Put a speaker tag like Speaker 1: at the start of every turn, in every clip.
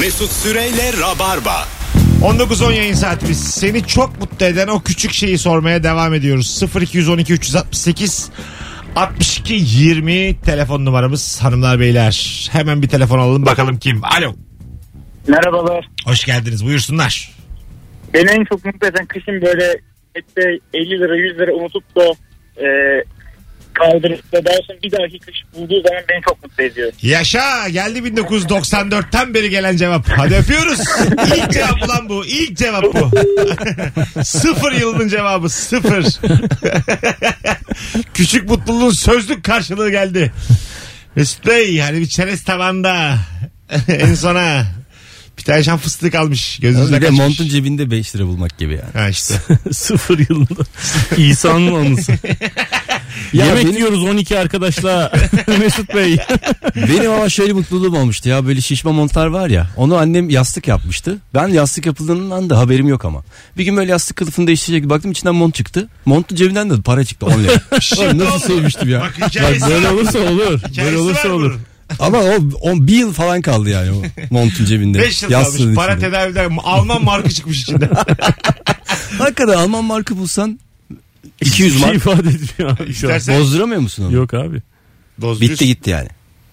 Speaker 1: Mesut Süreyle Rabarba.
Speaker 2: 19.10 yayın saatimiz. Seni çok mutlu eden o küçük şeyi sormaya devam ediyoruz. 0212 368 62 20 telefon numaramız hanımlar beyler. Hemen bir telefon alalım bakalım kim. Alo.
Speaker 3: Merhabalar.
Speaker 2: Hoş geldiniz buyursunlar.
Speaker 3: Beni en çok mutlu eden kışın böyle ette 50 lira 100 lira unutup da e, kaldırıp da daha sonra bir dahaki kış bulduğu zaman beni çok mutlu ediyor.
Speaker 2: Yaşa geldi 1994'ten beri gelen cevap. Hadi öpüyoruz. İlk cevap lan bu. İlk cevap bu. sıfır yılının cevabı. Sıfır. Küçük mutluluğun sözlük karşılığı geldi. Mesut Bey hani bir çerez tavanda. en sona. Bir tane şan fıstığı kalmış. Gözünüzde
Speaker 4: Bir de
Speaker 2: kaçmış.
Speaker 4: montun cebinde 5 lira bulmak gibi yani.
Speaker 2: Ha işte.
Speaker 5: Sıfır yılında. İsa'nın anısı. Yemek
Speaker 4: benim-
Speaker 5: yiyoruz 12 arkadaşla Mesut Bey.
Speaker 4: Benim ama şöyle mutluluğum olmuştu ya böyle şişme montlar var ya onu annem yastık yapmıştı. Ben yastık yapıldığından da haberim yok ama. Bir gün böyle yastık kılıfını değiştirecek baktım içinden mont çıktı. Montun cebinden de para çıktı 10 lira. Oğlum nasıl sevmiştim ya.
Speaker 2: Bak hikayesi
Speaker 5: Bak böyle
Speaker 2: var.
Speaker 5: olursa olur.
Speaker 2: Hikayesi
Speaker 5: Böyle olursa
Speaker 2: var
Speaker 5: olur.
Speaker 2: bunun.
Speaker 4: Ama o, o bir yıl falan kaldı yani o montun cebinde.
Speaker 2: 5 yıl
Speaker 4: Yastığın
Speaker 2: kalmış. Para
Speaker 4: içinde.
Speaker 2: tedaviden Alman marka çıkmış içinde.
Speaker 4: Hakikaten Alman marka bulsan 200
Speaker 5: Hiçbir şey
Speaker 4: mark
Speaker 5: ifade etmiyor abi. şu an.
Speaker 2: İstersen
Speaker 4: bozduramıyor musun onu?
Speaker 5: Yok abi.
Speaker 4: Bitti gitti yani.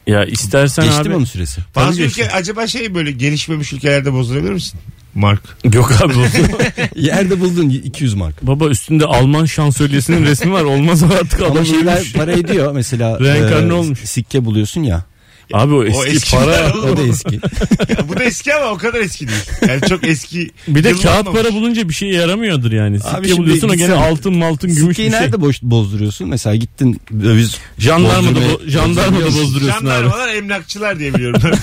Speaker 5: Ya istersen
Speaker 4: Geçti mi
Speaker 5: abi.
Speaker 4: onun süresi?
Speaker 2: Bazı
Speaker 5: Tabii
Speaker 2: ülke acaba şey böyle gelişmemiş ülkelerde bozdurabilir misin? Mark.
Speaker 5: Yok abi. bozdu.
Speaker 4: Yerde buldun 200 mark.
Speaker 5: Baba üstünde Alman şansölyesinin resmi var. Olmaz o artık adam
Speaker 4: Ama şeyler
Speaker 5: ölmüş.
Speaker 4: para ediyor mesela.
Speaker 5: Reenkarne
Speaker 4: e,
Speaker 5: olmuş.
Speaker 4: Sikke buluyorsun ya.
Speaker 5: Abi o eski,
Speaker 2: O eski
Speaker 5: para.
Speaker 2: para
Speaker 4: O da eski.
Speaker 2: Ya bu da eski ama o kadar eski değil. Yani çok eski.
Speaker 5: Bir de
Speaker 2: Yıllar
Speaker 5: kağıt
Speaker 2: olmamış.
Speaker 5: para bulunca bir şeye yaramıyordur yani. Sikke
Speaker 4: şimdi
Speaker 5: buluyorsun o gene
Speaker 4: gitsene.
Speaker 5: altın maltın gümüş
Speaker 4: Sikkeyi
Speaker 5: bir şey.
Speaker 4: nerede boş, bozduruyorsun? Mesela gittin döviz
Speaker 5: Jandarma da,
Speaker 4: Bozdurmayı-
Speaker 5: bo- jandarma da bozduruyorsun abi.
Speaker 2: Jandarmalar emlakçılar diye biliyorum.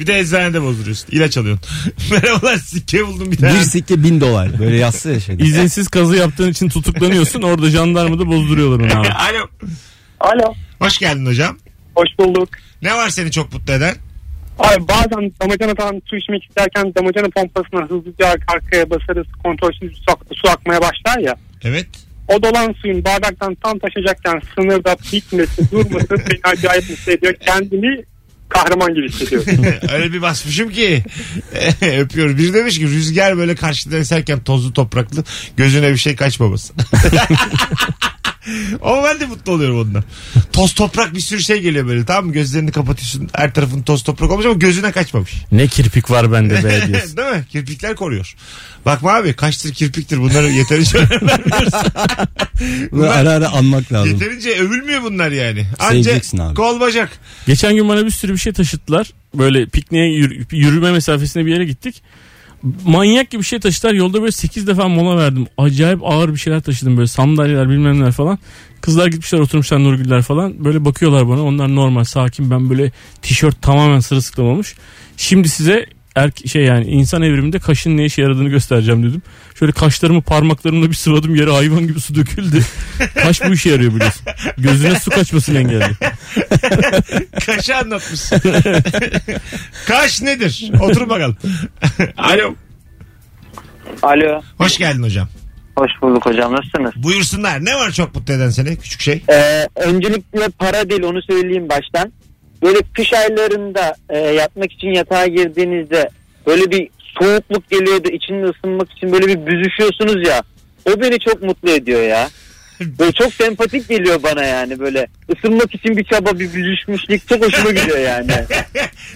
Speaker 2: bir de eczanede bozduruyorsun. İlaç alıyorsun. Merhabalar sikke buldum bir tane.
Speaker 4: bir sikke bin dolar. Böyle yazsa ya şeyde.
Speaker 5: İzinsiz kazı yaptığın için tutuklanıyorsun. Orada jandarma da bozduruyorlar onu abi.
Speaker 2: Alo.
Speaker 3: Alo.
Speaker 2: Hoş geldin hocam.
Speaker 3: Hoş bulduk.
Speaker 2: Ne var seni çok mutlu eden?
Speaker 3: Abi bazen damacanadan su içmek isterken damacana pompasına hızlıca arka arkaya basarız kontrolsüz su, ak- su akmaya başlar ya.
Speaker 2: Evet.
Speaker 3: O dolan suyun bardaktan tam taşacakken sınırda bitmesi durması beni acayip mutlu ediyor. Kendimi kahraman gibi hissediyorum.
Speaker 2: Öyle bir basmışım ki. Öpüyoruz. Biri demiş ki rüzgar böyle karşıdan eserken tozlu topraklı gözüne bir şey kaçmaması. Ama ben de mutlu oluyorum ondan. Toz toprak bir sürü şey geliyor böyle tamam mı? Gözlerini kapatıyorsun her tarafın toz toprak olmuş ama gözüne kaçmamış.
Speaker 5: Ne kirpik var bende be diyorsun.
Speaker 2: Değil mi? Kirpikler koruyor. Bakma abi kaçtır kirpiktir bunları yeterince önem vermiyorsun.
Speaker 4: Bunu
Speaker 2: Bunlar-
Speaker 4: ara ara anmak lazım.
Speaker 2: yeterince övülmüyor bunlar yani.
Speaker 4: Seveceksin
Speaker 2: Anca
Speaker 4: abi.
Speaker 2: kol bacak.
Speaker 5: Geçen gün bana bir sürü bir şey taşıttılar. Böyle pikniğe yürü- yürüme mesafesine bir yere gittik. Manyak gibi bir şey taşıdılar. Yolda böyle 8 defa mola verdim. Acayip ağır bir şeyler taşıdım böyle sandalyeler bilmem neler falan. Kızlar gitmişler oturmuşlar Nurgüller falan. Böyle bakıyorlar bana. Onlar normal sakin. Ben böyle tişört tamamen sırılsıklam olmuş. Şimdi size erk şey yani insan evriminde kaşın ne işe yaradığını göstereceğim dedim. Şöyle kaşlarımı parmaklarımla bir sıvadım yere hayvan gibi su döküldü. Kaş bu işe yarıyor biliyorsun. Gözüne su kaçmasını engelliyor.
Speaker 2: Kaşı anlatmışsın. Kaş nedir? Otur bakalım. Alo.
Speaker 6: Alo.
Speaker 2: Hoş geldin hocam.
Speaker 6: Hoş bulduk hocam. Nasılsınız?
Speaker 2: Buyursunlar. Ne var çok mutlu eden seni? Küçük şey.
Speaker 6: Ee, öncelikle para değil onu söyleyeyim baştan. Böyle kış aylarında e, yatmak için yatağa girdiğinizde böyle bir soğukluk geliyordu. İçinde ısınmak için böyle bir büzüşüyorsunuz ya. O beni çok mutlu ediyor ya. Böyle çok sempatik geliyor bana yani böyle. ısınmak için bir çaba bir büzüşmüşlük çok hoşuma gidiyor yani.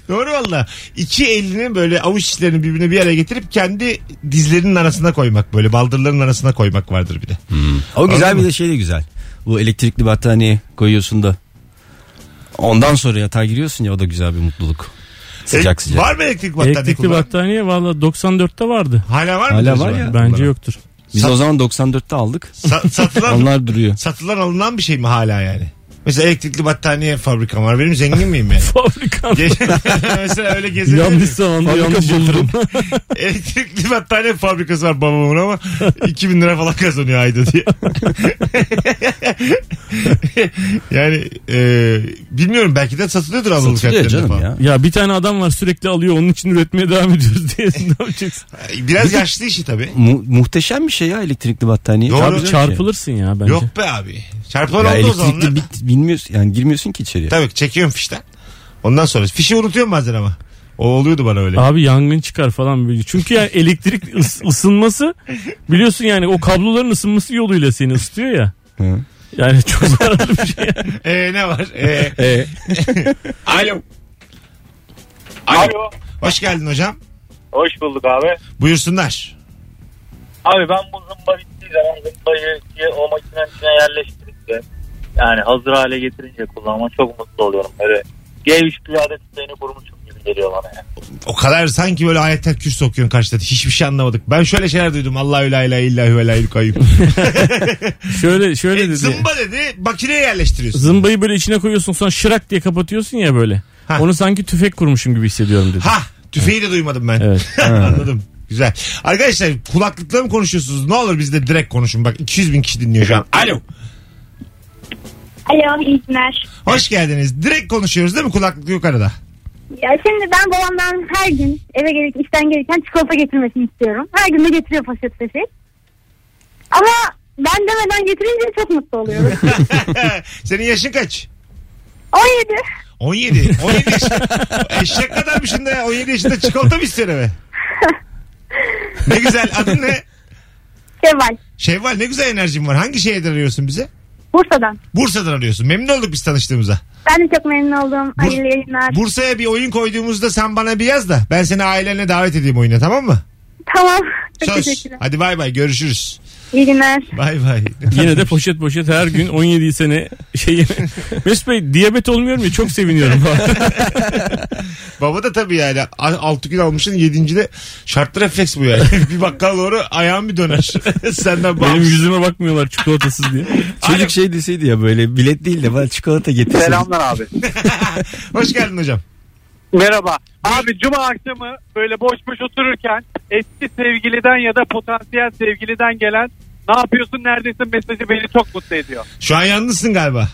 Speaker 2: Doğru valla. İki elini böyle avuç içlerini birbirine bir araya getirip kendi dizlerinin arasına koymak böyle. Baldırların arasına koymak vardır bir de.
Speaker 4: O güzel
Speaker 2: Anladın
Speaker 4: bir de şey de güzel. Bu elektrikli battaniye koyuyorsun da. Ondan sonra yatağa giriyorsun ya o da güzel bir mutluluk. Sıcak
Speaker 2: E,
Speaker 4: sıcak.
Speaker 2: Var mı elektrik battaniye?
Speaker 5: Elektrikli
Speaker 2: kullanan?
Speaker 5: battaniye valla 94'te vardı.
Speaker 2: Hala var mı?
Speaker 4: Hala var ya.
Speaker 5: Bence yoktur.
Speaker 4: Biz
Speaker 2: Sat-
Speaker 4: o zaman 94'te aldık.
Speaker 2: Sa- satılan
Speaker 4: Onlar duruyor.
Speaker 2: satılan alınan bir şey mi hala yani? Mesela elektrikli battaniye fabrikam var. Benim zengin miyim yani?
Speaker 5: Fabrikan.
Speaker 2: Ge- Mesela öyle
Speaker 5: yanlış
Speaker 2: gezebilirim.
Speaker 5: zamanda yanlış buldum.
Speaker 2: Elektrikli battaniye fabrikası var babamın ama 2000 lira falan kazanıyor ayda diye. yani e, bilmiyorum belki de satılıyordur Anadolu
Speaker 4: Satılıyor
Speaker 2: kentlerinde
Speaker 4: canım
Speaker 2: falan.
Speaker 4: ya.
Speaker 5: Ya bir tane adam var sürekli alıyor onun için üretmeye devam ediyoruz diye ne yapacaksın?
Speaker 2: Biraz yaşlı işi tabii.
Speaker 4: Mu- muhteşem bir şey ya elektrikli battaniye.
Speaker 2: Doğru.
Speaker 4: Çarpacak
Speaker 5: Abi
Speaker 4: bir şey.
Speaker 5: çarpılırsın ya bence.
Speaker 2: Yok be abi. Çarpılan
Speaker 4: Ya
Speaker 2: oldu o zaman. lan.
Speaker 4: elektrikli bit, bilmiyorsun yani girmiyorsun ki içeriye.
Speaker 2: Tabii çekiyorum fişten. Ondan sonra fişi unutuyorum bazen ama. O oluyordu bana öyle.
Speaker 5: Abi yangın çıkar falan böyle. Çünkü yani elektrik ıs- ısınması biliyorsun yani o kabloların ısınması yoluyla seni ısıtıyor ya.
Speaker 4: Hı.
Speaker 5: Yani çok zararlı bir şey.
Speaker 2: Ee, ne var? Ee,
Speaker 4: E,
Speaker 2: alo.
Speaker 3: Alo.
Speaker 2: Hoş geldin hocam.
Speaker 3: Hoş bulduk abi.
Speaker 2: Buyursunlar.
Speaker 3: Abi ben bu zımba bittiği zaman zımbayı diye o makinenin içine yerleştirince yani hazır hale getirince kullanma çok mutlu oluyorum. Böyle G3 piyade tüfeğini kurmuşum gibi geliyor bana yani.
Speaker 2: O kadar sanki böyle ayetten küs sokuyorsun karşıda. Hiçbir şey anlamadık. Ben şöyle şeyler duydum. Allahü la ilahe illa huvel hayyul kayyum.
Speaker 5: Şöyle şöyle
Speaker 2: E,
Speaker 5: dedi.
Speaker 2: Zımba dedi makineye yerleştiriyorsun.
Speaker 5: Zımbayı böyle içine koyuyorsun sonra şırak diye kapatıyorsun ya böyle.
Speaker 2: Ha.
Speaker 5: Onu sanki tüfek kurmuşum gibi hissediyorum dedi.
Speaker 2: Ha tüfeği de duymadım ben.
Speaker 5: Evet.
Speaker 2: Anladım. Güzel. Arkadaşlar kulaklıkla mı konuşuyorsunuz? Ne olur bizde direkt konuşun. Bak 200 bin kişi dinliyor şu an. Alo.
Speaker 7: Alo iyi günler.
Speaker 2: Hoş geldiniz. Direkt konuşuyoruz değil mi? Kulaklık yok arada.
Speaker 7: Ya şimdi ben babamdan her gün eve gelip işten gelirken çikolata getirmesini istiyorum. Her gün de getiriyor poşet poşet. Ama ben demeden getirince çok mutlu oluyorum.
Speaker 2: Senin yaşın kaç?
Speaker 7: 17.
Speaker 2: 17. 17 yaşında. Eşek kadarmışsın da ya. 17 yaşında çikolata mı istiyorsun eve? Ne güzel. Adın ne?
Speaker 7: Şevval.
Speaker 2: Şevval ne güzel enerjin var. Hangi şehirden arıyorsun bize?
Speaker 7: Bursa'dan.
Speaker 2: Bursa'dan arıyorsun. Memnun olduk biz tanıştığımıza.
Speaker 7: Ben de çok memnun oldum. Hayırlı yayınlar.
Speaker 2: Bursa'ya bir oyun koyduğumuzda sen bana bir yaz da ben seni ailenle davet edeyim oyuna tamam mı?
Speaker 7: tamam. Çok
Speaker 2: Söz.
Speaker 7: teşekkürler.
Speaker 2: Hadi bay bay görüşürüz.
Speaker 7: İyi günler.
Speaker 2: Bay bay.
Speaker 5: Yine de poşet poşet her gün 17 sene şey Mesut Bey diyabet olmuyorum ya çok seviniyorum.
Speaker 2: Baba da tabii yani 6 gün almışsın 7. de şartlı refleks bu yani. bir bakkal doğru ayağın bir döner. Senden
Speaker 5: Benim
Speaker 2: bağımsız.
Speaker 5: yüzüme bakmıyorlar çikolatasız diye.
Speaker 4: çocuk şey deseydi ya böyle bilet değil de bana çikolata getirseydi.
Speaker 6: abi.
Speaker 2: Hoş geldin hocam.
Speaker 8: Merhaba. Abi cuma akşamı böyle boş boş otururken eski sevgiliden ya da potansiyel sevgiliden gelen ne yapıyorsun neredesin mesajı beni çok mutlu ediyor.
Speaker 2: Şu an yalnızsın galiba.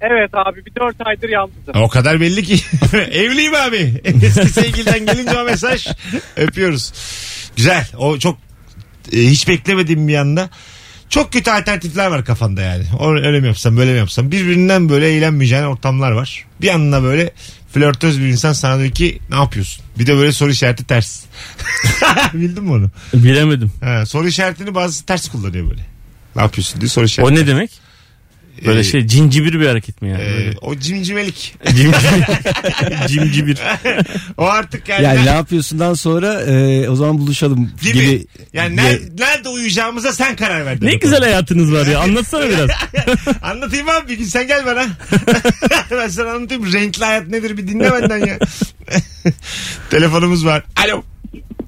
Speaker 8: Evet abi bir 4 aydır yalnızım.
Speaker 2: O kadar belli ki. Evliyim abi. Eski sevgiliden gelince o mesaj. Öpüyoruz. Güzel. O çok e, hiç beklemediğim bir anda. Çok kötü alternatifler var kafanda yani. O- Öyle mi yapsam böyle mi yapsam. Birbirinden böyle eğlenmeyeceğin ortamlar var. Bir anda böyle flörtöz bir insan sana diyor ki ne yapıyorsun? Bir de böyle soru işareti ters. Bildin mi onu?
Speaker 5: Bilemedim.
Speaker 2: Ha, soru işaretini bazısı ters kullanıyor böyle. Ne yapıyorsun diye soru işareti.
Speaker 5: O ne demek? Böyle
Speaker 2: Ee,
Speaker 5: şey cincibir bir hareket mi yani?
Speaker 2: e,
Speaker 5: Böyle
Speaker 2: o cimcimelik.
Speaker 5: cimcibir. cimcibir.
Speaker 2: o artık yani.
Speaker 4: Yani ne yapıyorsundan sonra e, o zaman buluşalım
Speaker 2: gibi.
Speaker 4: gibi.
Speaker 2: yani
Speaker 4: diye-
Speaker 2: ner- nerede uyuyacağımıza sen karar verdin.
Speaker 5: Ne güzel hayatınız var ya anlatsana biraz.
Speaker 2: Anlatayım abi bir gün sen gel bana. ben sana anlatayım. Renkli hayat nedir bir dinle benden ya. Telefonumuz var. Alo.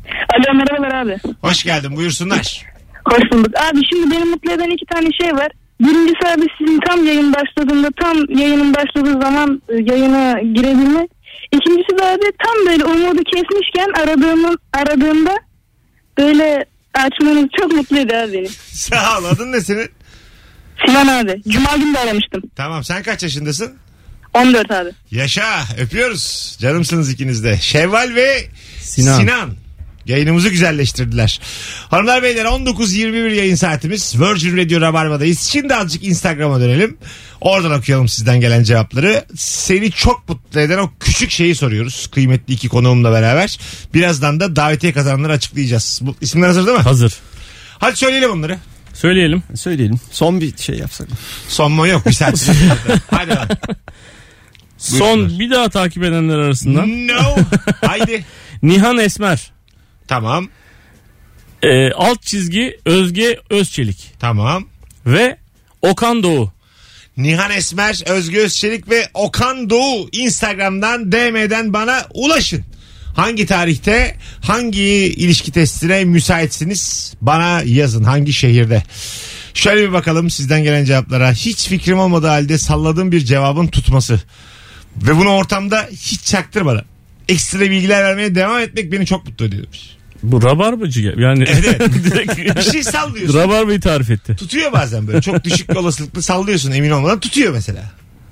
Speaker 9: Alo merhabalar abi.
Speaker 2: Hoş geldin buyursunlar.
Speaker 9: Hoş bulduk. Abi şimdi beni mutlu eden iki tane şey var. Birincisi abi sizin tam yayın başladığında tam yayının başladığı zaman e, yayına girebilme. İkincisi de abi tam böyle umudu kesmişken aradığımın aradığımda böyle açmanız çok mutlu ediyor abi beni.
Speaker 2: Sağ ol adın ne senin?
Speaker 9: Sinan abi. Cuma günü de aramıştım.
Speaker 2: Tamam sen kaç yaşındasın?
Speaker 9: 14 abi.
Speaker 2: Yaşa öpüyoruz. Canımsınız ikiniz de. Şevval ve Sinan.
Speaker 4: Sinan.
Speaker 2: Yayınımızı güzelleştirdiler. Hanımlar beyler 19.21 yayın saatimiz. Virgin Radio Rabarba'dayız. Şimdi azıcık Instagram'a dönelim. Oradan okuyalım sizden gelen cevapları. Seni çok mutlu eden o küçük şeyi soruyoruz. Kıymetli iki konuğumla beraber. Birazdan da davetiye kazananları açıklayacağız. Bu, isimler hazır değil mi?
Speaker 5: Hazır.
Speaker 2: Hadi söyleyelim onları.
Speaker 5: Söyleyelim.
Speaker 4: Söyleyelim. Son bir şey yapsak.
Speaker 2: Son mu yok bir saat. sonra. Hadi lan.
Speaker 5: Son bir daha takip edenler arasından
Speaker 2: No. Haydi.
Speaker 5: Nihan Esmer.
Speaker 2: Tamam.
Speaker 5: e, alt çizgi Özge Özçelik
Speaker 2: Tamam.
Speaker 5: ve Okan Doğu.
Speaker 2: Nihan Esmer, Özgü Özçelik ve Okan Doğu Instagram'dan DM'den bana ulaşın. Hangi tarihte hangi ilişki testine müsaitsiniz bana yazın hangi şehirde. Şöyle bir bakalım sizden gelen cevaplara. Hiç fikrim olmadığı halde salladığım bir cevabın tutması. Ve bunu ortamda hiç çaktırmadan. Ekstra bilgiler vermeye devam etmek beni çok mutlu ediyor. demiş.
Speaker 5: Bu rabarbacı ya- yani.
Speaker 2: Bir
Speaker 5: Direkt
Speaker 2: şey sallıyorsun.
Speaker 5: rabarbayı tarif etti.
Speaker 2: tutuyor bazen böyle. Çok düşük bir olasılıkla sallıyorsun emin olmadan tutuyor mesela.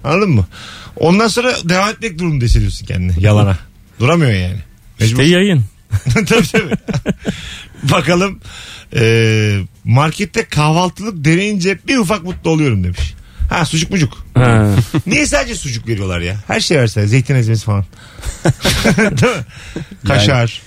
Speaker 2: Anladın mı? Ondan sonra devam etmek durumunda hissediyorsun kendini yalana. Duramıyor yani. Mecbur.
Speaker 5: İşte yayın.
Speaker 2: tabii tabii. Bakalım e, markette kahvaltılık deneyince bir ufak mutlu oluyorum demiş. Ha sucuk mucuk.
Speaker 5: Ha.
Speaker 2: Niye sadece sucuk veriyorlar ya? Her şey versene. Zeytin ezmesi falan. Değil mi? Kaşar.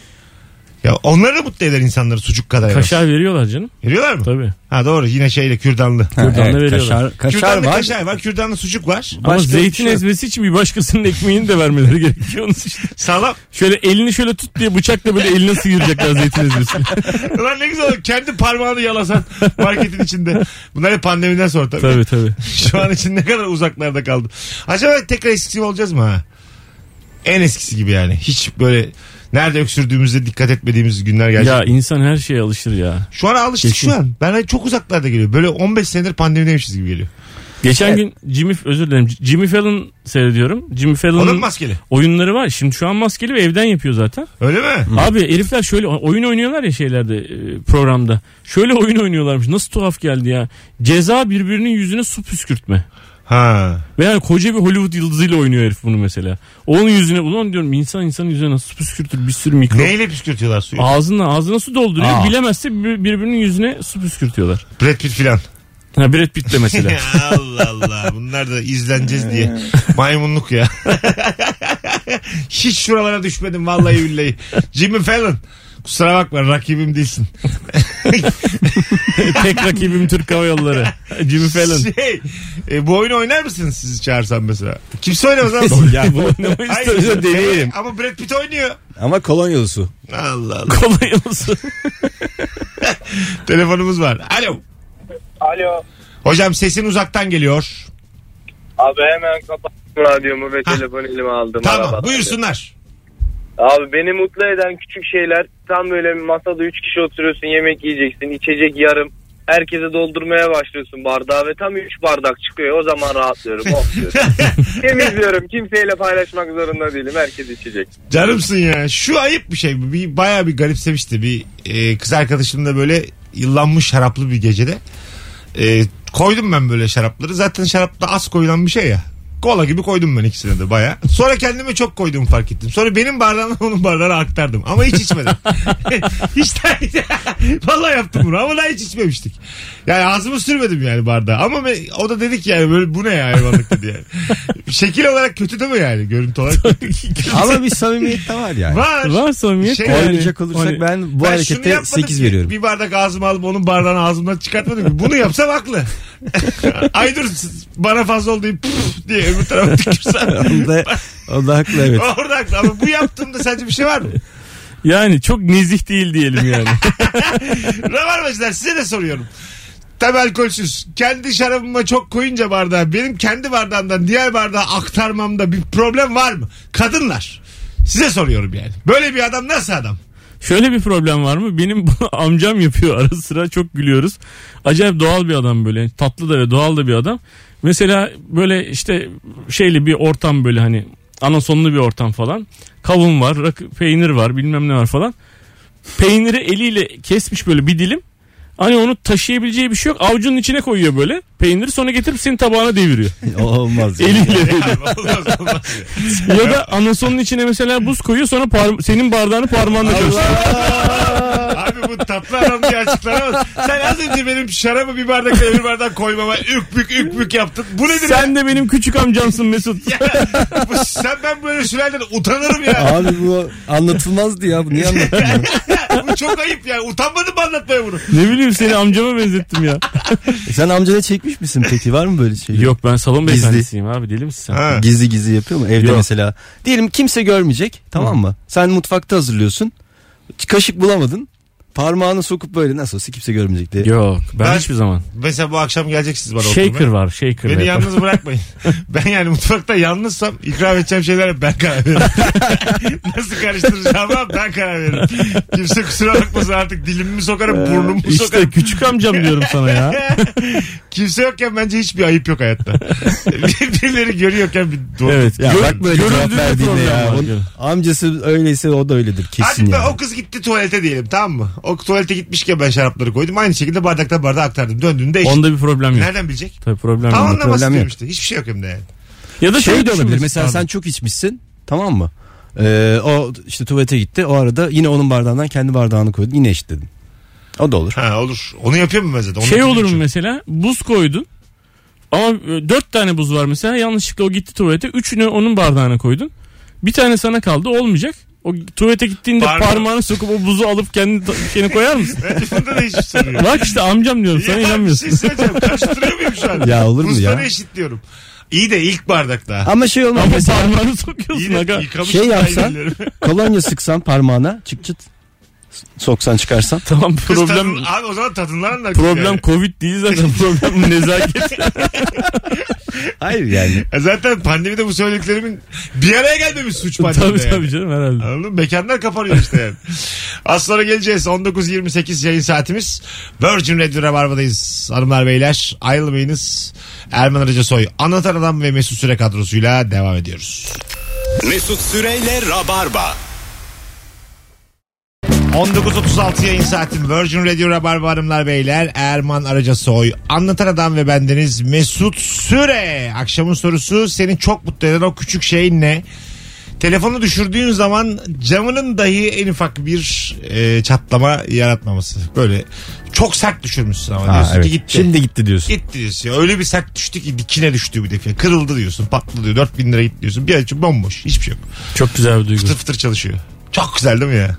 Speaker 2: Ya onları da mutlu eder insanları sucuk kadar. Kaşar.
Speaker 5: Kaşar veriyorlar canım.
Speaker 2: Veriyorlar mı?
Speaker 5: Tabii.
Speaker 2: Ha doğru yine şeyle kürdanlı.
Speaker 4: Ha,
Speaker 5: Kürdanlı
Speaker 4: evet,
Speaker 5: veriyorlar.
Speaker 4: kaşar, kaşar
Speaker 2: kürdanlı
Speaker 4: var.
Speaker 2: kaşar var. Kürdanlı sucuk var.
Speaker 5: Ama
Speaker 4: Başka bir
Speaker 5: zeytin
Speaker 4: şey yok.
Speaker 5: ezmesi için bir başkasının ekmeğini de vermeleri gerekiyor. Onun için.
Speaker 2: Salam.
Speaker 5: Şöyle elini şöyle tut diye bıçakla böyle eline sıyıracaklar zeytin ezmesini.
Speaker 2: Ulan ne güzel olur. Kendi parmağını yalasan marketin içinde. Bunlar hep pandemiden sonra tabii.
Speaker 5: tabii tabii.
Speaker 2: Şu an için ne kadar uzaklarda kaldı. Acaba tekrar eskisi gibi olacağız mı ha? En eskisi gibi yani. Hiç böyle nerede öksürdüğümüzde dikkat etmediğimiz günler gelecek.
Speaker 5: Ya insan her şeye alışır ya.
Speaker 2: Şu an alıştık
Speaker 5: Kesin.
Speaker 2: şu an. Ben hani çok uzaklarda geliyor. Böyle 15 senedir pandemideymişiz gibi geliyor.
Speaker 5: Geçen gün Jimmy özür dilerim. Jimmy Fallon seyrediyorum. Jimmy
Speaker 2: Onun
Speaker 5: Fallon'un
Speaker 2: maskeli.
Speaker 5: oyunları var. Şimdi şu an maskeli ve evden yapıyor zaten.
Speaker 2: Öyle mi?
Speaker 5: Abi herifler şöyle oyun oynuyorlar ya şeylerde e, programda. Şöyle oyun oynuyorlarmış. Nasıl tuhaf geldi ya. Ceza birbirinin yüzüne su püskürtme.
Speaker 2: Ha.
Speaker 5: Ve yani koca bir Hollywood yıldızıyla oynuyor herif bunu mesela. Onun yüzüne ulan diyorum insan insanın yüzüne nasıl su püskürtür bir sürü mikro.
Speaker 2: Neyle püskürtüyorlar suyu?
Speaker 5: Ağzına ağzına su dolduruyor.
Speaker 4: Aa.
Speaker 5: Bilemezse bir- birbirinin yüzüne su püskürtüyorlar.
Speaker 2: Brad Pitt filan.
Speaker 5: Ha Brad Pitt de mesela.
Speaker 2: Allah Allah. Bunlar da izleneceğiz diye. Maymunluk ya. Hiç şuralara düşmedim vallahi billahi. Jimmy Fallon. Kusura bakma rakibim değilsin.
Speaker 5: Tek rakibim Türk Hava Yolları. Jimmy Fallon.
Speaker 2: Şey, e, bu oyunu oynar mısınız sizi çağırsam mesela? Kimse oynamaz ama.
Speaker 5: ya bu
Speaker 2: Hayır.
Speaker 5: oynamayı istiyorsan
Speaker 4: deneyelim.
Speaker 2: Ama Brad Pitt oynuyor.
Speaker 4: Ama kolonyalı su.
Speaker 2: Allah Allah.
Speaker 5: kolay olsun.
Speaker 2: Telefonumuz var. Alo.
Speaker 8: Alo.
Speaker 2: Hocam sesin uzaktan geliyor.
Speaker 8: Abi hemen kapattım radyomu ve
Speaker 2: Ha.
Speaker 8: telefonu elime aldım.
Speaker 2: Tamam
Speaker 8: arabadan.
Speaker 2: buyursunlar.
Speaker 8: Abi beni mutlu eden küçük şeyler tam böyle masada 3 kişi oturuyorsun yemek yiyeceksin içecek yarım. Herkese doldurmaya başlıyorsun bardağı ve tam 3 bardak çıkıyor. O zaman rahatlıyorum. Oh diyorum. Temizliyorum. Kimseyle paylaşmak zorunda değilim. Herkes içecek.
Speaker 2: Canımsın ya. Şu ayıp bir şey. Bir, bayağı bir garipsemişti. Bir e, kız arkadaşımla böyle yıllanmış şaraplı bir gecede. E, koydum ben böyle şarapları. Zaten şarapta az koyulan bir şey ya. Kola gibi koydum ben ikisine de baya. Sonra kendime çok koyduğumu fark ettim. Sonra benim bardağımla onun bardağına aktardım. Ama hiç içmedim. hiç de- Vallahi yaptım bunu ama daha hiç içmemiştik. Yani ağzımı sürmedim yani bardağa. Ama ben- o da dedi ki yani böyle bu ne ya hayvanlık dedi yani. Şekil olarak kötü değil mi yani? Görüntü olarak kötü.
Speaker 4: Ama bir samimiyet de var yani.
Speaker 2: Var.
Speaker 5: Var samimiyet.
Speaker 2: Şey-
Speaker 5: Yani-
Speaker 4: Oynayacak olursak
Speaker 5: Hani-
Speaker 4: ben bu
Speaker 2: Ben şunu
Speaker 4: harekete
Speaker 2: yapmadım
Speaker 4: 8
Speaker 2: ki,
Speaker 4: veriyorum.
Speaker 2: Bir bardak ağzıma alıp onun bardağını ağzımdan çıkartmadım ki. Bunu yapsam haklı. Ay dur bana fazla oldu deyip püf diye öbür tarafa tükürsem.
Speaker 4: Onda, onda haklı evet.
Speaker 2: Orada haklı ama bu yaptığımda sence bir şey var mı?
Speaker 5: Yani çok nezih değil diyelim yani.
Speaker 2: Ne var bacılar size de soruyorum. Tabi alkolsüz. Kendi şarabıma çok koyunca bardağı benim kendi bardağımdan diğer bardağa aktarmamda bir problem var mı? Kadınlar. Size soruyorum yani. Böyle bir adam nasıl adam?
Speaker 5: Şöyle bir problem var mı? Benim bunu amcam yapıyor ara sıra çok gülüyoruz. Acayip doğal bir adam böyle Yani tatlı da ve doğal da bir adam. Mesela böyle işte şeyli bir ortam böyle hani anasonlu bir ortam falan. Kavun var, rakı, peynir var bilmem ne var falan. Peyniri eliyle kesmiş böyle bir dilim. Hani onu taşıyabileceği bir şey yok. Avucunun içine koyuyor böyle peyniri sonra getirip senin tabağına deviriyor.
Speaker 4: O olmaz. yani.
Speaker 5: Eliyle
Speaker 2: Olmaz, olmaz.
Speaker 5: ya da anasonun içine mesela buz koyuyor sonra parm- senin bardağını parmağınla karıştırıyor.
Speaker 2: Abi bu tatlı adam diye açıklanamaz. Sen az önce benim şarabı bir bardakla öbür bardak koymama ükbük ükbük yaptın. Bu nedir?
Speaker 5: Sen de benim küçük amcamsın Mesut.
Speaker 2: ya? Bu- sen ben böyle şeylerden utanırım ya.
Speaker 4: Abi bu anlatılmazdı ya. Bu niye anlatılmaz?
Speaker 2: bu çok ayıp ya. Utanmadım mı anlatmaya bunu?
Speaker 5: Ne bileyim seni amcama benzettim ya.
Speaker 4: Sen amcana çekmiş misin peki? Var mı böyle şey?
Speaker 5: Yok ben salon
Speaker 4: Gizli.
Speaker 5: beyefendisiyim abi deli misin sen?
Speaker 2: Ha.
Speaker 4: Gizli gizli yapıyor mu? Evde
Speaker 5: Yok.
Speaker 4: mesela. Diyelim kimse görmeyecek. Tamam mı? Sen mutfakta hazırlıyorsun. Kaşık bulamadın. Parmağını sokup böyle nasıl olsa kimse görmeyecek diye.
Speaker 5: Yok ben,
Speaker 2: Ben-
Speaker 5: hiçbir zaman.
Speaker 2: Mesela bu akşam geleceksiniz bana
Speaker 5: Shaker
Speaker 2: oturmaya.
Speaker 5: var shaker.
Speaker 2: Beni
Speaker 5: yapan.
Speaker 2: yalnız bırakmayın. Ben yani mutfakta yalnızsam ikram edeceğim şeylere ben karar veririm. Nasıl karıştıracağıma ben karar veririm. Kimse kusura bakmasın artık dilimi mi sokarım burnumu mu
Speaker 5: İşte
Speaker 2: sokarım.
Speaker 5: küçük amcam diyorum sana ya.
Speaker 2: Kimse yokken bence hiçbir ayıp yok hayatta. Birileri görüyorken bir doğru.
Speaker 5: Evet.
Speaker 4: Ya
Speaker 5: gör-
Speaker 4: bak böyle
Speaker 5: görüldüğünde
Speaker 4: cevap verdiğinde
Speaker 5: problem
Speaker 4: ya.
Speaker 5: var.
Speaker 4: Onun- amcası öyleyse o da öyledir kesin
Speaker 2: Hadi be,
Speaker 4: yani.
Speaker 2: o kız gitti tuvalete diyelim tamam mı? O tuvalete gitmişken ben şarapları koydum. Aynı şekilde bardaktan bardağa aktardım. Döndüğümde eşit.
Speaker 5: Onda bir problem yok.
Speaker 2: Nereden bilecek?
Speaker 5: Tabii problem
Speaker 2: Tam
Speaker 5: yok.
Speaker 2: anlaması
Speaker 4: problem yok.
Speaker 2: demişti. Hiçbir şey yok hem de yani.
Speaker 5: Ya da
Speaker 4: şey de
Speaker 5: düşün
Speaker 4: olabilir.
Speaker 5: Mesut
Speaker 4: Mesela
Speaker 5: abi.
Speaker 4: sen çok içmişsin. Tamam mı? Ee, o işte tuvalete gitti. O arada yine onun bardağından kendi bardağını koydun. Yine eşitledin. O da olur.
Speaker 2: Ha olur. Onu yapıyor mu mesela? Onu
Speaker 5: şey
Speaker 2: bilmiyorum
Speaker 5: olur mu
Speaker 2: çünkü.
Speaker 5: mesela buz koydun. Ama e, dört tane buz var mesela. Yanlışlıkla o gitti tuvalete. Üçünü onun bardağına koydun. Bir tane sana kaldı. Olmayacak. O tuvalete gittiğinde
Speaker 2: Parmağı-
Speaker 5: parmağını sokup o buzu alıp kendi ta- şeyine koyar mısın?
Speaker 2: Bunda da hiçbir sorun yok.
Speaker 5: Bak işte amcam diyorum sana
Speaker 2: Ya bir şey
Speaker 5: inanmıyorsun.
Speaker 2: söyleyeceğim. Karıştırıyor muyum şu an?
Speaker 4: Ya olur mu
Speaker 2: Buzları
Speaker 4: ya?
Speaker 2: eşitliyorum. İyi de ilk bardakta.
Speaker 4: Ama şey olmaz.
Speaker 5: Ama
Speaker 4: mesela
Speaker 5: parmağını sokuyorsun
Speaker 2: Yine
Speaker 5: aga.
Speaker 2: yıkamış
Speaker 4: Şey yapsan-
Speaker 2: ailelerimi.
Speaker 4: kolonya sıksan parmağına çıt çıt soksan çıkarsan.
Speaker 5: Tamam
Speaker 2: Kız
Speaker 5: problem
Speaker 2: tadın- abi o zaman tadınlar anlar.
Speaker 5: problem
Speaker 2: Yani.
Speaker 5: covid değil zaten problem nezaket.
Speaker 4: Hayır yani.
Speaker 2: E Zaten pandemide bu söylediklerimin bir araya gelmemiş suç pandemide.
Speaker 5: tabii
Speaker 2: yani.
Speaker 5: tabii canım herhalde.
Speaker 2: Anladın mı? Mekanlar kapanıyor işte yani. Az sonra geleceğiz. 19.28 yayın saatimiz. Virgin Radio Rabarba'dayız. Hanımlar beyler ayrılmayınız. Erman Arıca Soy. Anlatan Adam ve Mesut Süre kadrosuyla devam ediyoruz.
Speaker 1: Mesut Süreyle Rabarba.
Speaker 2: 19.36 yayın saatin Virgin Radio Rabarba Hanımlar Beyler Erman Arıca Soy Anlatan Adam ve bendeniz Mesut Süre Akşamın sorusu seni çok mutlu eden o küçük şey ne? Telefonu düşürdüğün zaman camının dahi en ufak bir e, çatlama yaratmaması. Böyle çok sert düşürmüşsün ama diyorsun ki gitti.
Speaker 4: Şimdi gitti diyorsun.
Speaker 2: Gitti diyorsun. Öyle bir sert düştü ki dikine düştü bir defa. Kırıldı diyorsun. Patladı diyor. 4000 lira gitti diyorsun. Bir açıp bomboş. Hiçbir şey yok.
Speaker 5: Çok güzel bir duygu.
Speaker 2: Fıtır fıtır çalışıyor. Çok güzel değil mi ya?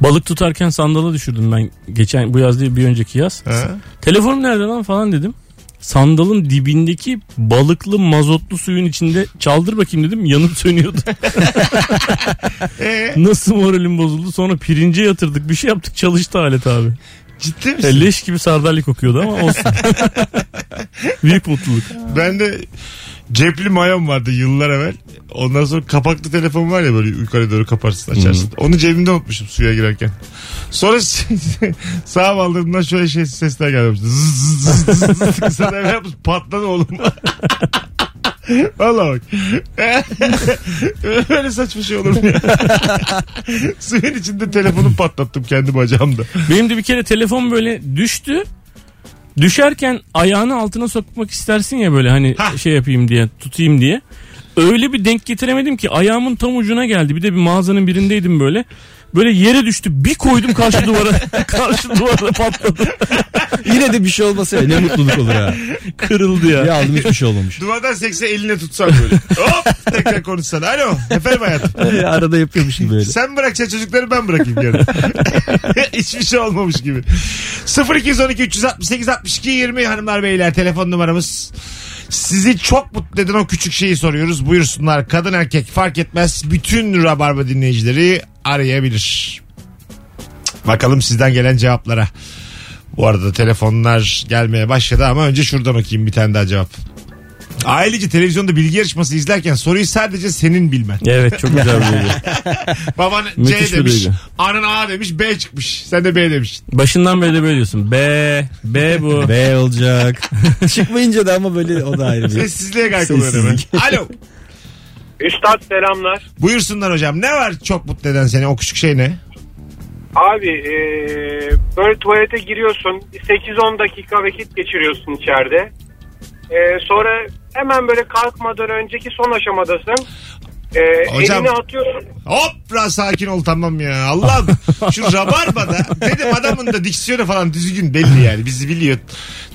Speaker 5: Balık tutarken sandala düşürdüm ben geçen bu yaz değil bir önceki yaz.
Speaker 2: Ha?
Speaker 5: Telefonum nerede lan falan dedim. Sandalın dibindeki balıklı mazotlu suyun içinde çaldır bakayım dedim yanıp sönüyordu.
Speaker 2: Ee?
Speaker 5: Nasıl moralim bozuldu sonra pirince yatırdık bir şey yaptık çalıştı alet abi.
Speaker 2: Ciddi misin?
Speaker 5: Ya E, leş gibi sardalya kokuyordu ama olsun. Büyük mutluluk.
Speaker 2: Ben de cepli mayom vardı yıllar evvel. Ondan sonra kapaklı telefon var ya böyle yukarı doğru kaparsın açarsın. Onu cebimde unutmuşum suya girerken. Sonra sağ aldığımdan şöyle şey sesler gelmiş. Zzz, zzz, zzz, zzz. Sen eve yapmış patladı oğlum. Valla bak. Öyle saçma şey olur mu ya? Suyun içinde telefonu patlattım kendi bacağımda.
Speaker 5: Benim de bir kere telefon böyle düştü. Düşerken ayağını altına sokmak istersin ya böyle hani
Speaker 2: Hah.
Speaker 5: şey yapayım diye tutayım diye. Öyle bir denk getiremedim ki ayağımın tam ucuna geldi. Bir de bir mağazanın birindeydim böyle. Böyle yere düştü bir koydum karşı duvara karşı duvara patladı
Speaker 4: Yine de bir şey olmasa ya, ne mutluluk olur ha.
Speaker 5: kırıldı ya.
Speaker 4: Ya aldım hiçbir şey olmamış.
Speaker 2: Duvardan sekse eline tutsan böyle. Hop tekrar konuşsan. Alo efendim hayatım.
Speaker 4: E, Arada yapıyormuşum böyle.
Speaker 2: Sen bırakacaksın çocukları ben bırakayım yarın. Hiçbir şey olmamış gibi. 0212 368 62 20 hanımlar beyler telefon numaramız. Sizi çok mutlu eden o küçük şeyi soruyoruz. Buyursunlar kadın erkek fark etmez. Bütün Rabarba dinleyicileri arayabilir. Bakalım sizden gelen cevaplara. Bu arada telefonlar gelmeye başladı ama önce şuradan okuyayım bir tane daha cevap. Ailece televizyonda bilgi yarışması izlerken soruyu sadece senin bilmen.
Speaker 5: Evet çok güzel bir şey. duygu.
Speaker 2: Baban
Speaker 5: Müthiş
Speaker 2: C
Speaker 5: bir
Speaker 2: demiş.
Speaker 5: duygu.
Speaker 2: Anan A demiş. B çıkmış. Sen de B demiş.
Speaker 5: Başından beri de böyle diyorsun. B, B bu.
Speaker 4: B olacak. Çıkmayınca da ama böyle o da ayrı
Speaker 2: E,
Speaker 4: bir.
Speaker 2: Sessizliğe kalkılıyor hemen. Alo.
Speaker 8: Üstad selamlar.
Speaker 2: Buyursunlar hocam. Ne var çok mutlu eden seni? O küçük şey ne?
Speaker 8: Abi eee, böyle tuvalete giriyorsun 8-10 dakika vakit geçiriyorsun içeride. Eee, sonra hemen böyle kalkmadan önceki son aşamadasın. Eee,
Speaker 2: Hocam-
Speaker 8: elini atıyorsun.
Speaker 2: Hop biraz sakin ol tamam ya. Allah'ım şu rabarbada dedim adamın da diksiyonu falan düzgün belli yani. Bizi biliyor.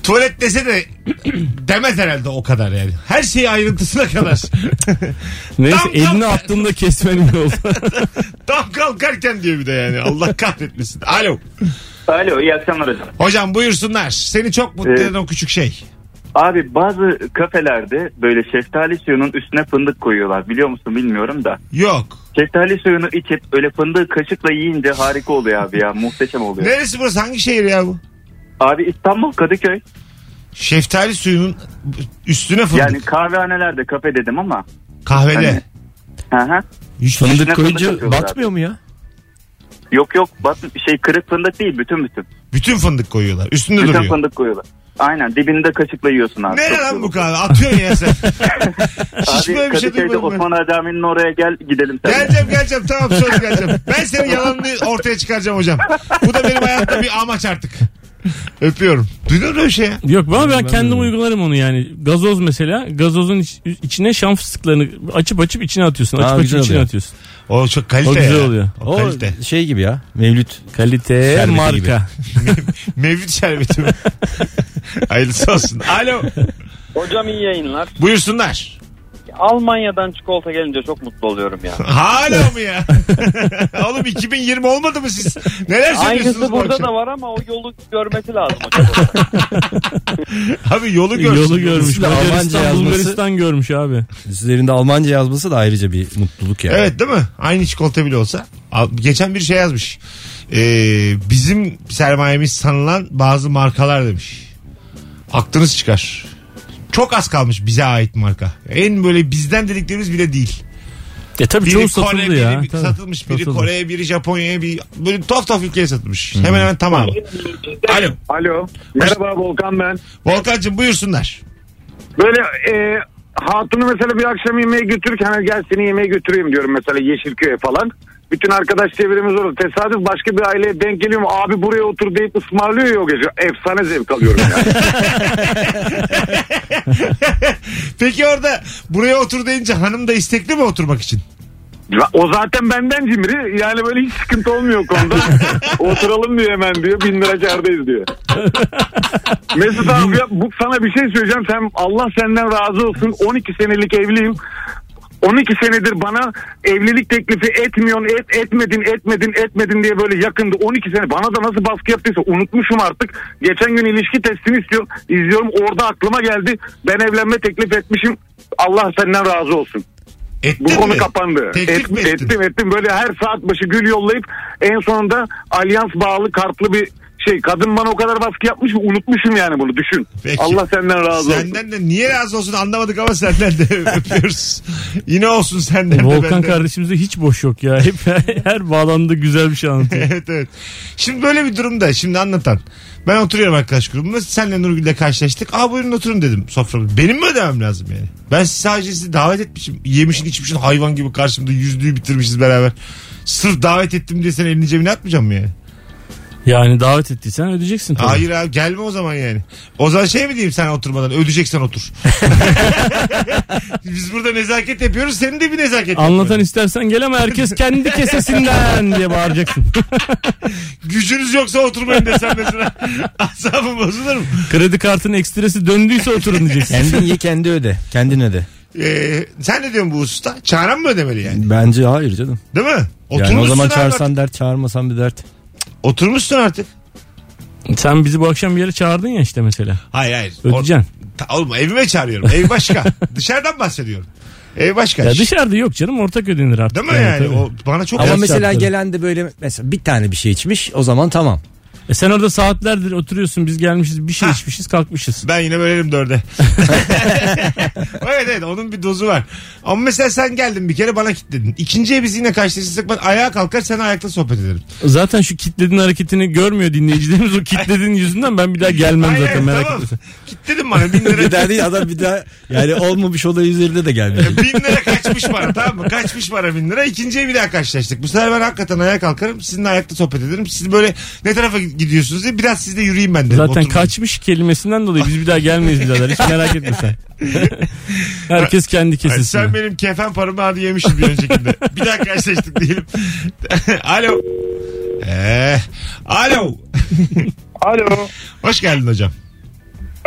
Speaker 2: Tuvalet dese de demez herhalde o kadar yani. Her şeyi ayrıntısına kadar.
Speaker 5: Neyse
Speaker 2: Tam, tam.
Speaker 5: elini attığımda kesmenin oldu.
Speaker 2: Tam kalkarken diyor bir de yani. Allah kahretmesin. Alo.
Speaker 3: Alo iyi akşamlar hocam. Ee,
Speaker 2: Hocam buyursunlar. Seni çok mutlu
Speaker 3: Evet.
Speaker 2: eden o küçük şey.
Speaker 3: Abi bazı kafelerde böyle şeftali suyunun üstüne fındık koyuyorlar. Biliyor musun bilmiyorum da.
Speaker 2: Yok.
Speaker 3: Şeftali suyunu içip öyle fındığı kaşıkla yiyince harika oluyor abi ya. Muhteşem oluyor.
Speaker 2: Neresi burası? Hangi şehir ya bu?
Speaker 3: Abi İstanbul Kadıköy.
Speaker 2: Şeftali suyunun üstüne fındık.
Speaker 3: Yani kahvehanelerde kafe dedim ama.
Speaker 2: Kahvede.
Speaker 3: hani- Hı hı.
Speaker 2: Üst-
Speaker 4: Fındık
Speaker 3: Üstüne fındık
Speaker 4: koyunca
Speaker 3: atıyorlar
Speaker 4: batmıyor mu ya?
Speaker 3: Yok yok bak şey kırık fındık değil bütün bütün.
Speaker 2: Bütün fındık koyuyorlar. Üstünde
Speaker 3: bütün
Speaker 2: duruyor.
Speaker 3: fındık koyuyorlar. Aynen dibinde kaşıkla yiyorsun abi.
Speaker 2: Nere
Speaker 3: Çok
Speaker 2: lan bu
Speaker 3: iyi.
Speaker 2: kahve? Atıyorsun ya sen. Hiç
Speaker 3: Abi
Speaker 2: böyle bir şey
Speaker 3: Kadıköy'de
Speaker 2: duymadım ben.
Speaker 3: Osman Ağa Camii'nin oraya gel gidelim sen.
Speaker 2: Geleceğim geleceğim tamam söz geleceğim. Ben senin yalanını ortaya çıkaracağım hocam. Bu da benim hayatta bir amaç artık. Öpüyorum. Duydun mu öyle şey ya?
Speaker 5: Yok ama ben kendim uygularım onu yani. Gazoz mesela gazozun iç- içine şam fıstıklarını açıp açıp içine atıyorsun. Açıp
Speaker 4: Aa,
Speaker 5: açıp
Speaker 4: güzel
Speaker 5: içine
Speaker 4: oluyor.
Speaker 5: atıyorsun.
Speaker 2: O çok kalite
Speaker 5: O güzel
Speaker 2: ya.
Speaker 5: oluyor.
Speaker 2: O,
Speaker 4: O
Speaker 2: kalite.
Speaker 4: şey gibi ya. Mevlüt.
Speaker 5: Kalite
Speaker 4: Şerbeti
Speaker 5: marka.
Speaker 4: gibi.
Speaker 2: Mevlüt şerbeti mi? Hayırlısı olsun. Alo.
Speaker 8: Hocam iyi yayınlar.
Speaker 2: Buyursunlar.
Speaker 8: Almanya'dan çikolata gelince çok mutlu oluyorum ya.
Speaker 2: Hala mı ya? Oğlum 2020 olmadı mı siz? Neler söylüyorsunuz
Speaker 8: Aynısı
Speaker 2: bu
Speaker 8: burada
Speaker 2: akşam?
Speaker 8: da var ama o yolu görmesi lazım hocam.
Speaker 2: Abi yolu görsün.
Speaker 5: Yolu görmüş.
Speaker 4: Üstüne Almanca
Speaker 5: Macaristan,
Speaker 4: yazması.
Speaker 5: Bulgaristan görmüş abi.
Speaker 4: Üzerinde Almanca yazması da ayrıca bir mutluluk yani.
Speaker 2: Evet değil mi? Aynı çikolata bile olsa. Al- Geçen bir şey yazmış. Ee, bizim sermayemiz sanılan bazı markalar demiş. Aklınız çıkar. Çok az kalmış bize ait marka. En böyle bizden dediklerimiz bile değil.
Speaker 5: E tabii
Speaker 2: Biri
Speaker 5: çoğu
Speaker 2: Kore,
Speaker 5: satıldı
Speaker 2: biri
Speaker 5: ya.
Speaker 2: bir-
Speaker 5: Tabii.
Speaker 2: satılmış. Biri
Speaker 5: Satıldı.
Speaker 2: Kore'ye, biri Japonya'ya, bir böyle tuhaf tuhaf ülkeye satılmış. Hemen hemen tamamı. Alo.
Speaker 10: Alo. Merhaba Volkan ben.
Speaker 2: Volkan'cığım buyursunlar.
Speaker 10: Böyle e, hatunu mesela bir akşam yemeğe götürürken hani gel seni yemeğe götüreyim diyorum mesela Yeşilköy'e falan. Bütün arkadaş çevremiz orada. Tesadüf başka bir aileye denk geliyorum. Abi buraya otur deyip ısmarlıyor ya o gece. Efsane zevk alıyorum yani.
Speaker 2: Peki orada buraya otur deyince hanım da istekli mi oturmak için?
Speaker 10: Ya o zaten benden cimri. Yani böyle hiç sıkıntı olmuyor o konuda. Oturalım diyor hemen diyor. Bin lira kârdayız diyor. Mesut abi ya, bu, sana bir şey söyleyeceğim. Sen Allah senden razı olsun. 12 senelik evliyim. 12 senedir bana evlilik teklifi etmiyorsun, et, etmedin, etmedin, etmedin diye böyle yakındı. 12 sene bana da nasıl baskı yaptıysa unutmuşum artık. Geçen gün ilişki testini istiyorum. izliyorum orada aklıma geldi. Ben evlenme teklif etmişim. Allah senden razı olsun.
Speaker 2: Ettin
Speaker 10: Bu konu
Speaker 2: mi?
Speaker 10: kapandı.
Speaker 2: Teklif
Speaker 10: Et-
Speaker 2: mi ettin?
Speaker 10: Ettim ettim. Böyle her saat başı gül yollayıp en sonunda alyans bağlı kartlı bir şey. Kadın bana o kadar baskı yapmış ki unutmuşum yani bunu düşün.
Speaker 2: Peki.
Speaker 10: Allah senden razı olsun.
Speaker 2: Senden de niye razı olsun anlamadık ama senden de öpüyoruz. Yine olsun senden de
Speaker 5: Volkan
Speaker 2: benden de.
Speaker 5: kardeşimizde hiç boş yok ya. Hep her bağlandığı güzel bir şey anlatıyor.
Speaker 2: evet evet. Şimdi böyle bir durumda şimdi anlatan. Ben oturuyorum arkadaş grubumda. Senle Nurgül'le karşılaştık. Aa buyurun oturun dedim soframda. Benim mi ödemem lazım yani? Ben sadece sizi davet etmişim. Yemişin içmişin hayvan gibi karşımda yüzlüğü bitirmişiz beraber. Sırf davet ettim diye sen elini cebine atmayacağım mı yani?
Speaker 5: Yani davet ettiysen ödeyeceksin tabii.
Speaker 2: Hayır abi gelme o zaman yani. O zaman şey mi diyeyim sen oturmadan ödeyeceksen otur. Biz burada nezaket yapıyoruz senin de bir nezaket.
Speaker 5: Anlatan istersen gel ama herkes kendi kesesinden diye bağıracaksın.
Speaker 2: Gücünüz yoksa oturmayın desem mesela. Asabım bozulur mu?
Speaker 5: Kredi kartının ekstresi döndüyse oturun diyeceksin.
Speaker 4: Kendin ye kendi öde. Kendin öde.
Speaker 2: Ee, sen ne diyorsun bu usta? Çağıran mı ödemeli yani?
Speaker 4: Bence hayır canım.
Speaker 2: Değil mi?
Speaker 4: Yani o zaman
Speaker 2: artık.
Speaker 4: çağırsan dert çağırmasan bir dert.
Speaker 2: Oturmuşsun artık.
Speaker 5: Sen bizi bu akşam bir yere çağırdın ya işte mesela.
Speaker 2: Hayır hayır.
Speaker 5: Ödeyeceksin.
Speaker 2: O- Ta- oğlum evime çağırıyorum. Ev başka. Dışarıdan bahsediyorum. Ev başka.
Speaker 5: Ya
Speaker 2: iş.
Speaker 5: dışarıda yok canım ortak ödenir artık.
Speaker 2: Değil mi yani?
Speaker 5: tabii.
Speaker 2: O bana çok
Speaker 4: Ama
Speaker 5: Ders
Speaker 4: mesela
Speaker 5: yaptırın.
Speaker 4: gelen de böyle mesela bir tane bir şey içmiş o zaman tamam.
Speaker 5: E sen orada saatlerdir oturuyorsun biz gelmişiz bir şey içmişiz kalkmışız.
Speaker 2: Ben yine bölerim dörde. evet evet onun bir dozu var. Ama mesela sen geldin bir kere bana kilitledin. İkinciye biz yine karşılaşırsak ben ayağa kalkar sen ayakta sohbet ederim.
Speaker 5: Zaten şu kitledin hareketini görmüyor dinleyicilerimiz o kitledin yüzünden ben bir daha gelmem
Speaker 2: Hayır,
Speaker 5: zaten
Speaker 2: hayır,
Speaker 5: merak
Speaker 2: tamam.
Speaker 5: etme.
Speaker 2: Kilitledin bana bin lira.
Speaker 4: bir daha değil adam bir daha yani olmamış olay üzerinde de gelmiyor. E,
Speaker 2: bin lira kaçmış bana tamam mı? Kaçmış bana bin lira. İkinciye bir daha karşılaştık. Bu sefer ben hakikaten ayağa kalkarım. Sizinle ayakta sohbet ederim. Siz böyle ne tarafa gidiyorsunuz diye biraz sizde yürüyeyim ben dedim.
Speaker 5: Zaten
Speaker 2: Oturmayın.
Speaker 5: kaçmış kelimesinden dolayı biz bir daha gelmeyiz birader hiç merak etme sen. Herkes kendi
Speaker 2: Ay,
Speaker 5: kesesine.
Speaker 2: sen benim kefen paramı hadi yemişim bir öncekinde. bir daha karşılaştık diyelim. Alo. Ee, alo.
Speaker 8: Alo.
Speaker 2: Hoş geldin hocam.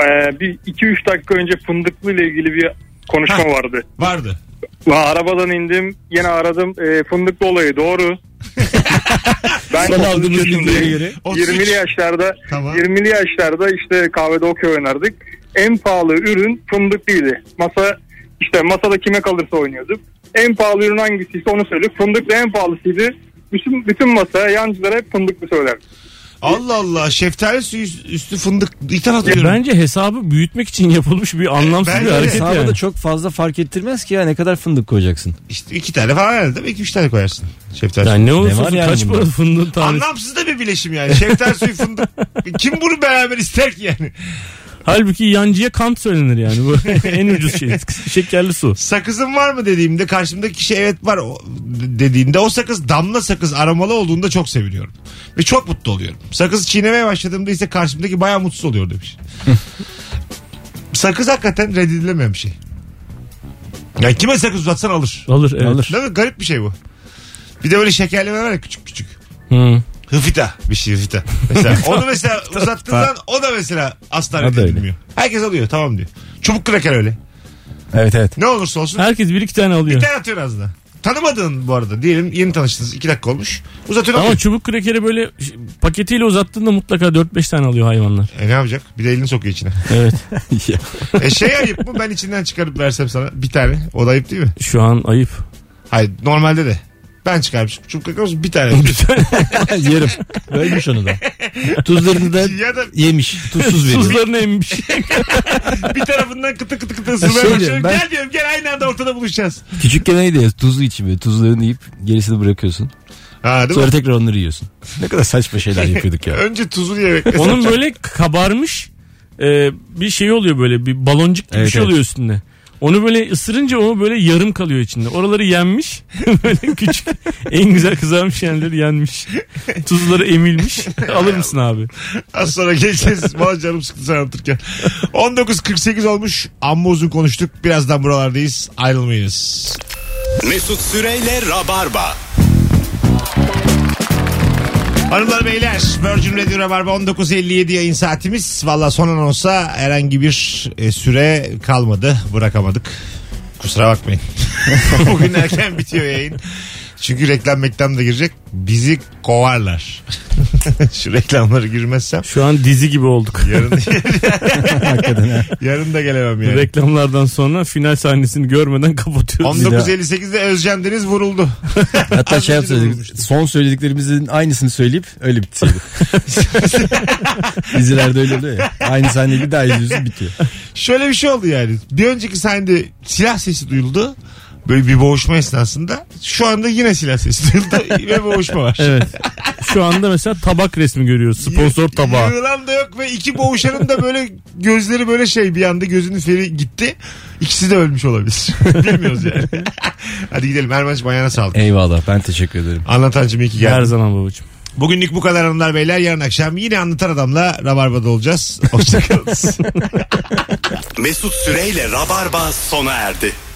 Speaker 8: Ee, bir 2-3 dakika önce Fındıklı ile ilgili bir konuşma
Speaker 2: Ha.
Speaker 8: vardı.
Speaker 2: Vardı.
Speaker 8: Ve arabadan indim. Yine aradım. Ee, fındıklı olayı doğru. ben
Speaker 4: Son aldığımız
Speaker 8: 33
Speaker 4: bilgiye
Speaker 8: yaşındayım.
Speaker 4: göre.
Speaker 2: 33.
Speaker 8: 20'li yaşlarda
Speaker 2: Tamam.
Speaker 8: 20'li yaşlarda işte kahvede okey oynardık. En pahalı ürün fındıklıydı. Masa işte masada kime kalırsa oynuyorduk. En pahalı ürün hangisiyse onu söyledik. Fındıklı en pahalısıydı. Bütün, bütün masa yancılara hep fındıklı söylerdi.
Speaker 2: Allah Allah. Şeftali suyu üstü fındık. İthal
Speaker 5: Ya
Speaker 2: hatırlıyorum.
Speaker 5: Bence hesabı büyütmek için yapılmış bir anlamsız
Speaker 2: Bence
Speaker 5: bir
Speaker 2: de.
Speaker 5: hareket
Speaker 4: Hesaba
Speaker 5: yani.
Speaker 4: da çok fazla fark ettirmez ki ya ne kadar fındık koyacaksın.
Speaker 2: İşte iki tane falan herhalde değil mi? İki üç tane koyarsın. Şeftali suyu.
Speaker 5: Yani ne
Speaker 4: Ne
Speaker 5: olursa
Speaker 4: var
Speaker 5: olsun
Speaker 4: yani
Speaker 5: kaç
Speaker 4: bunda?
Speaker 5: para fındığın tanesi.
Speaker 2: Anlamsız da bir bileşim yani. Şeftali suyu fındık. Kim bunu beraber ister ki yani?
Speaker 5: Halbuki yancıya kant söylenir yani. Bu en ucuz şey. Şekerli su.
Speaker 2: Sakızın var mı dediğimde karşımdaki kişi evet var o- dediğinde o sakız damla sakız aromalı olduğunda çok seviniyorum. Ve çok mutlu oluyorum. Sakızı çiğnemeye başladığımda ise karşımdaki bayağı mutsuz oluyor demiş. sakız hakikaten reddedilemeyen bir şey. Ya kime sakız uzatsan alır.
Speaker 5: Alır evet.
Speaker 4: Alır.
Speaker 2: Değil mi? Garip bir şey bu. Bir de böyle şekerleme var ya küçük küçük.
Speaker 5: Hı.
Speaker 2: Hıfita bir şey hıfita. Mesela onu mesela uzattığın zaman o da mesela asla
Speaker 4: O da öyle.
Speaker 2: reddedilmiyor. Herkes alıyor tamam diyor. Çubuk kraker öyle.
Speaker 4: Evet evet.
Speaker 2: Ne olursa olsun
Speaker 5: Herkes bir iki tane
Speaker 2: bir
Speaker 5: alıyor.
Speaker 2: tane atıyorsun ağzına. Tanımadığın bu arada. Diyelim yeni tanıştınız. iki dakika olmuş. Uzatıyorsun.
Speaker 5: Ama
Speaker 2: atıyorsun.
Speaker 5: çubuk krekeri böyle ş- paketiyle uzattığında mutlaka 4-5 tane alıyor hayvanlar.
Speaker 2: E ne yapacak? Bir de elini sokuyor içine.
Speaker 5: Evet.
Speaker 2: E şey ayıp mı? Ben içinden çıkarıp versem sana bir tane. O da ayıp değil mi?
Speaker 5: Şu an ayıp.
Speaker 2: Hayır normalde de. Ben çıkarmışım. Çubuk kraker olsun bir tane.
Speaker 4: Yerim. Ölmüş onu da. Tuzlarını da
Speaker 2: ya da
Speaker 4: yemiş. Tuzsuz veriyor.
Speaker 5: Tuzlarını emmiş.
Speaker 2: bir tarafından kıtı kıtı kıtı
Speaker 4: Şey
Speaker 2: ısırmaya
Speaker 4: diyorum,
Speaker 2: başlıyorum.
Speaker 4: ben-
Speaker 2: Gel diyorum gel aynı anda ortada buluşacağız.
Speaker 4: Küçükken neydi ya? Tuzlu içimi. Tuzlarını yiyip gerisini bırakıyorsun.
Speaker 2: Ha değil
Speaker 4: Sonra
Speaker 2: mi?
Speaker 4: tekrar onları yiyorsun. Ne kadar saçma şeyler yapıyorduk ya.
Speaker 2: Önce tuzlu diye beklesin.
Speaker 5: Onun böyle kabarmış e, bir şey oluyor böyle bir baloncuk gibi bir
Speaker 4: Evet,
Speaker 5: şey
Speaker 4: evet.
Speaker 5: oluyor üstünde. Onu böyle ısırınca o böyle yarım kalıyor içinde. Oraları yenmiş. böyle küçük en güzel kızarmış yerleri yenmiş. Tuzları emilmiş. Alır mısın abi?
Speaker 2: Az sonra geleceğiz. Valla canım sıktı sen anlatırken. 19.48 olmuş. Amma uzun konuştuk. Birazdan buralardayız. Ayrılmayınız.
Speaker 1: Mesut Süreyle Rabarba.
Speaker 2: Hanımlar beyler Virgin Radio Rabarba 19.57 yayın saatimiz. Valla son anonsa herhangi bir e, süre kalmadı. Bırakamadık. Kusura bakmayın. Bugün erken bitiyor yayın. Çünkü reklam reklam da girecek. Bizi kovarlar. Şu reklamları girmezsem
Speaker 5: Şu an dizi gibi olduk.
Speaker 2: yarın yarın da gelemem yani.
Speaker 5: Reklamlardan sonra final sahnesini görmeden kapatıyoruz.
Speaker 2: 1958'de Özcan Deniz vuruldu.
Speaker 4: Hatta şey
Speaker 2: Az önce de
Speaker 4: yapsaydık.
Speaker 2: bulmuştum.
Speaker 4: Son söylediklerimizin aynısını söyleyip öyle bitseydik. Dizilerde öyle oluyor ya. Aynı sahneyi bir daha izliyorsun bitiyor.
Speaker 2: Şöyle bir şey oldu yani. Bir önceki sahnede silah sesi duyuldu. Böyle bir boğuşma esnasında. Şu anda yine silah sesi duyuldu ve boğuşma var.
Speaker 5: Evet. Şu anda mesela tabak resmi görüyoruz. Sponsor tabağı.
Speaker 2: Yılan da yok ve iki boğuşanın da böyle gözleri böyle şey bir anda gözünün feri gitti. İkisi de ölmüş olabilir. Bilmiyoruz yani. Hadi gidelim. Erman'cığım ayağına sağlık.
Speaker 4: Eyvallah ben teşekkür ederim.
Speaker 2: Anlatancım iyi ki geldin.
Speaker 5: Her zaman babacığım.
Speaker 2: Bugünlük bu kadar hanımlar beyler. Yarın akşam yine anlatan adamla Rabarba'da olacağız. Hoşçakalın.
Speaker 1: Mesut Süreyle Rabarba sona erdi.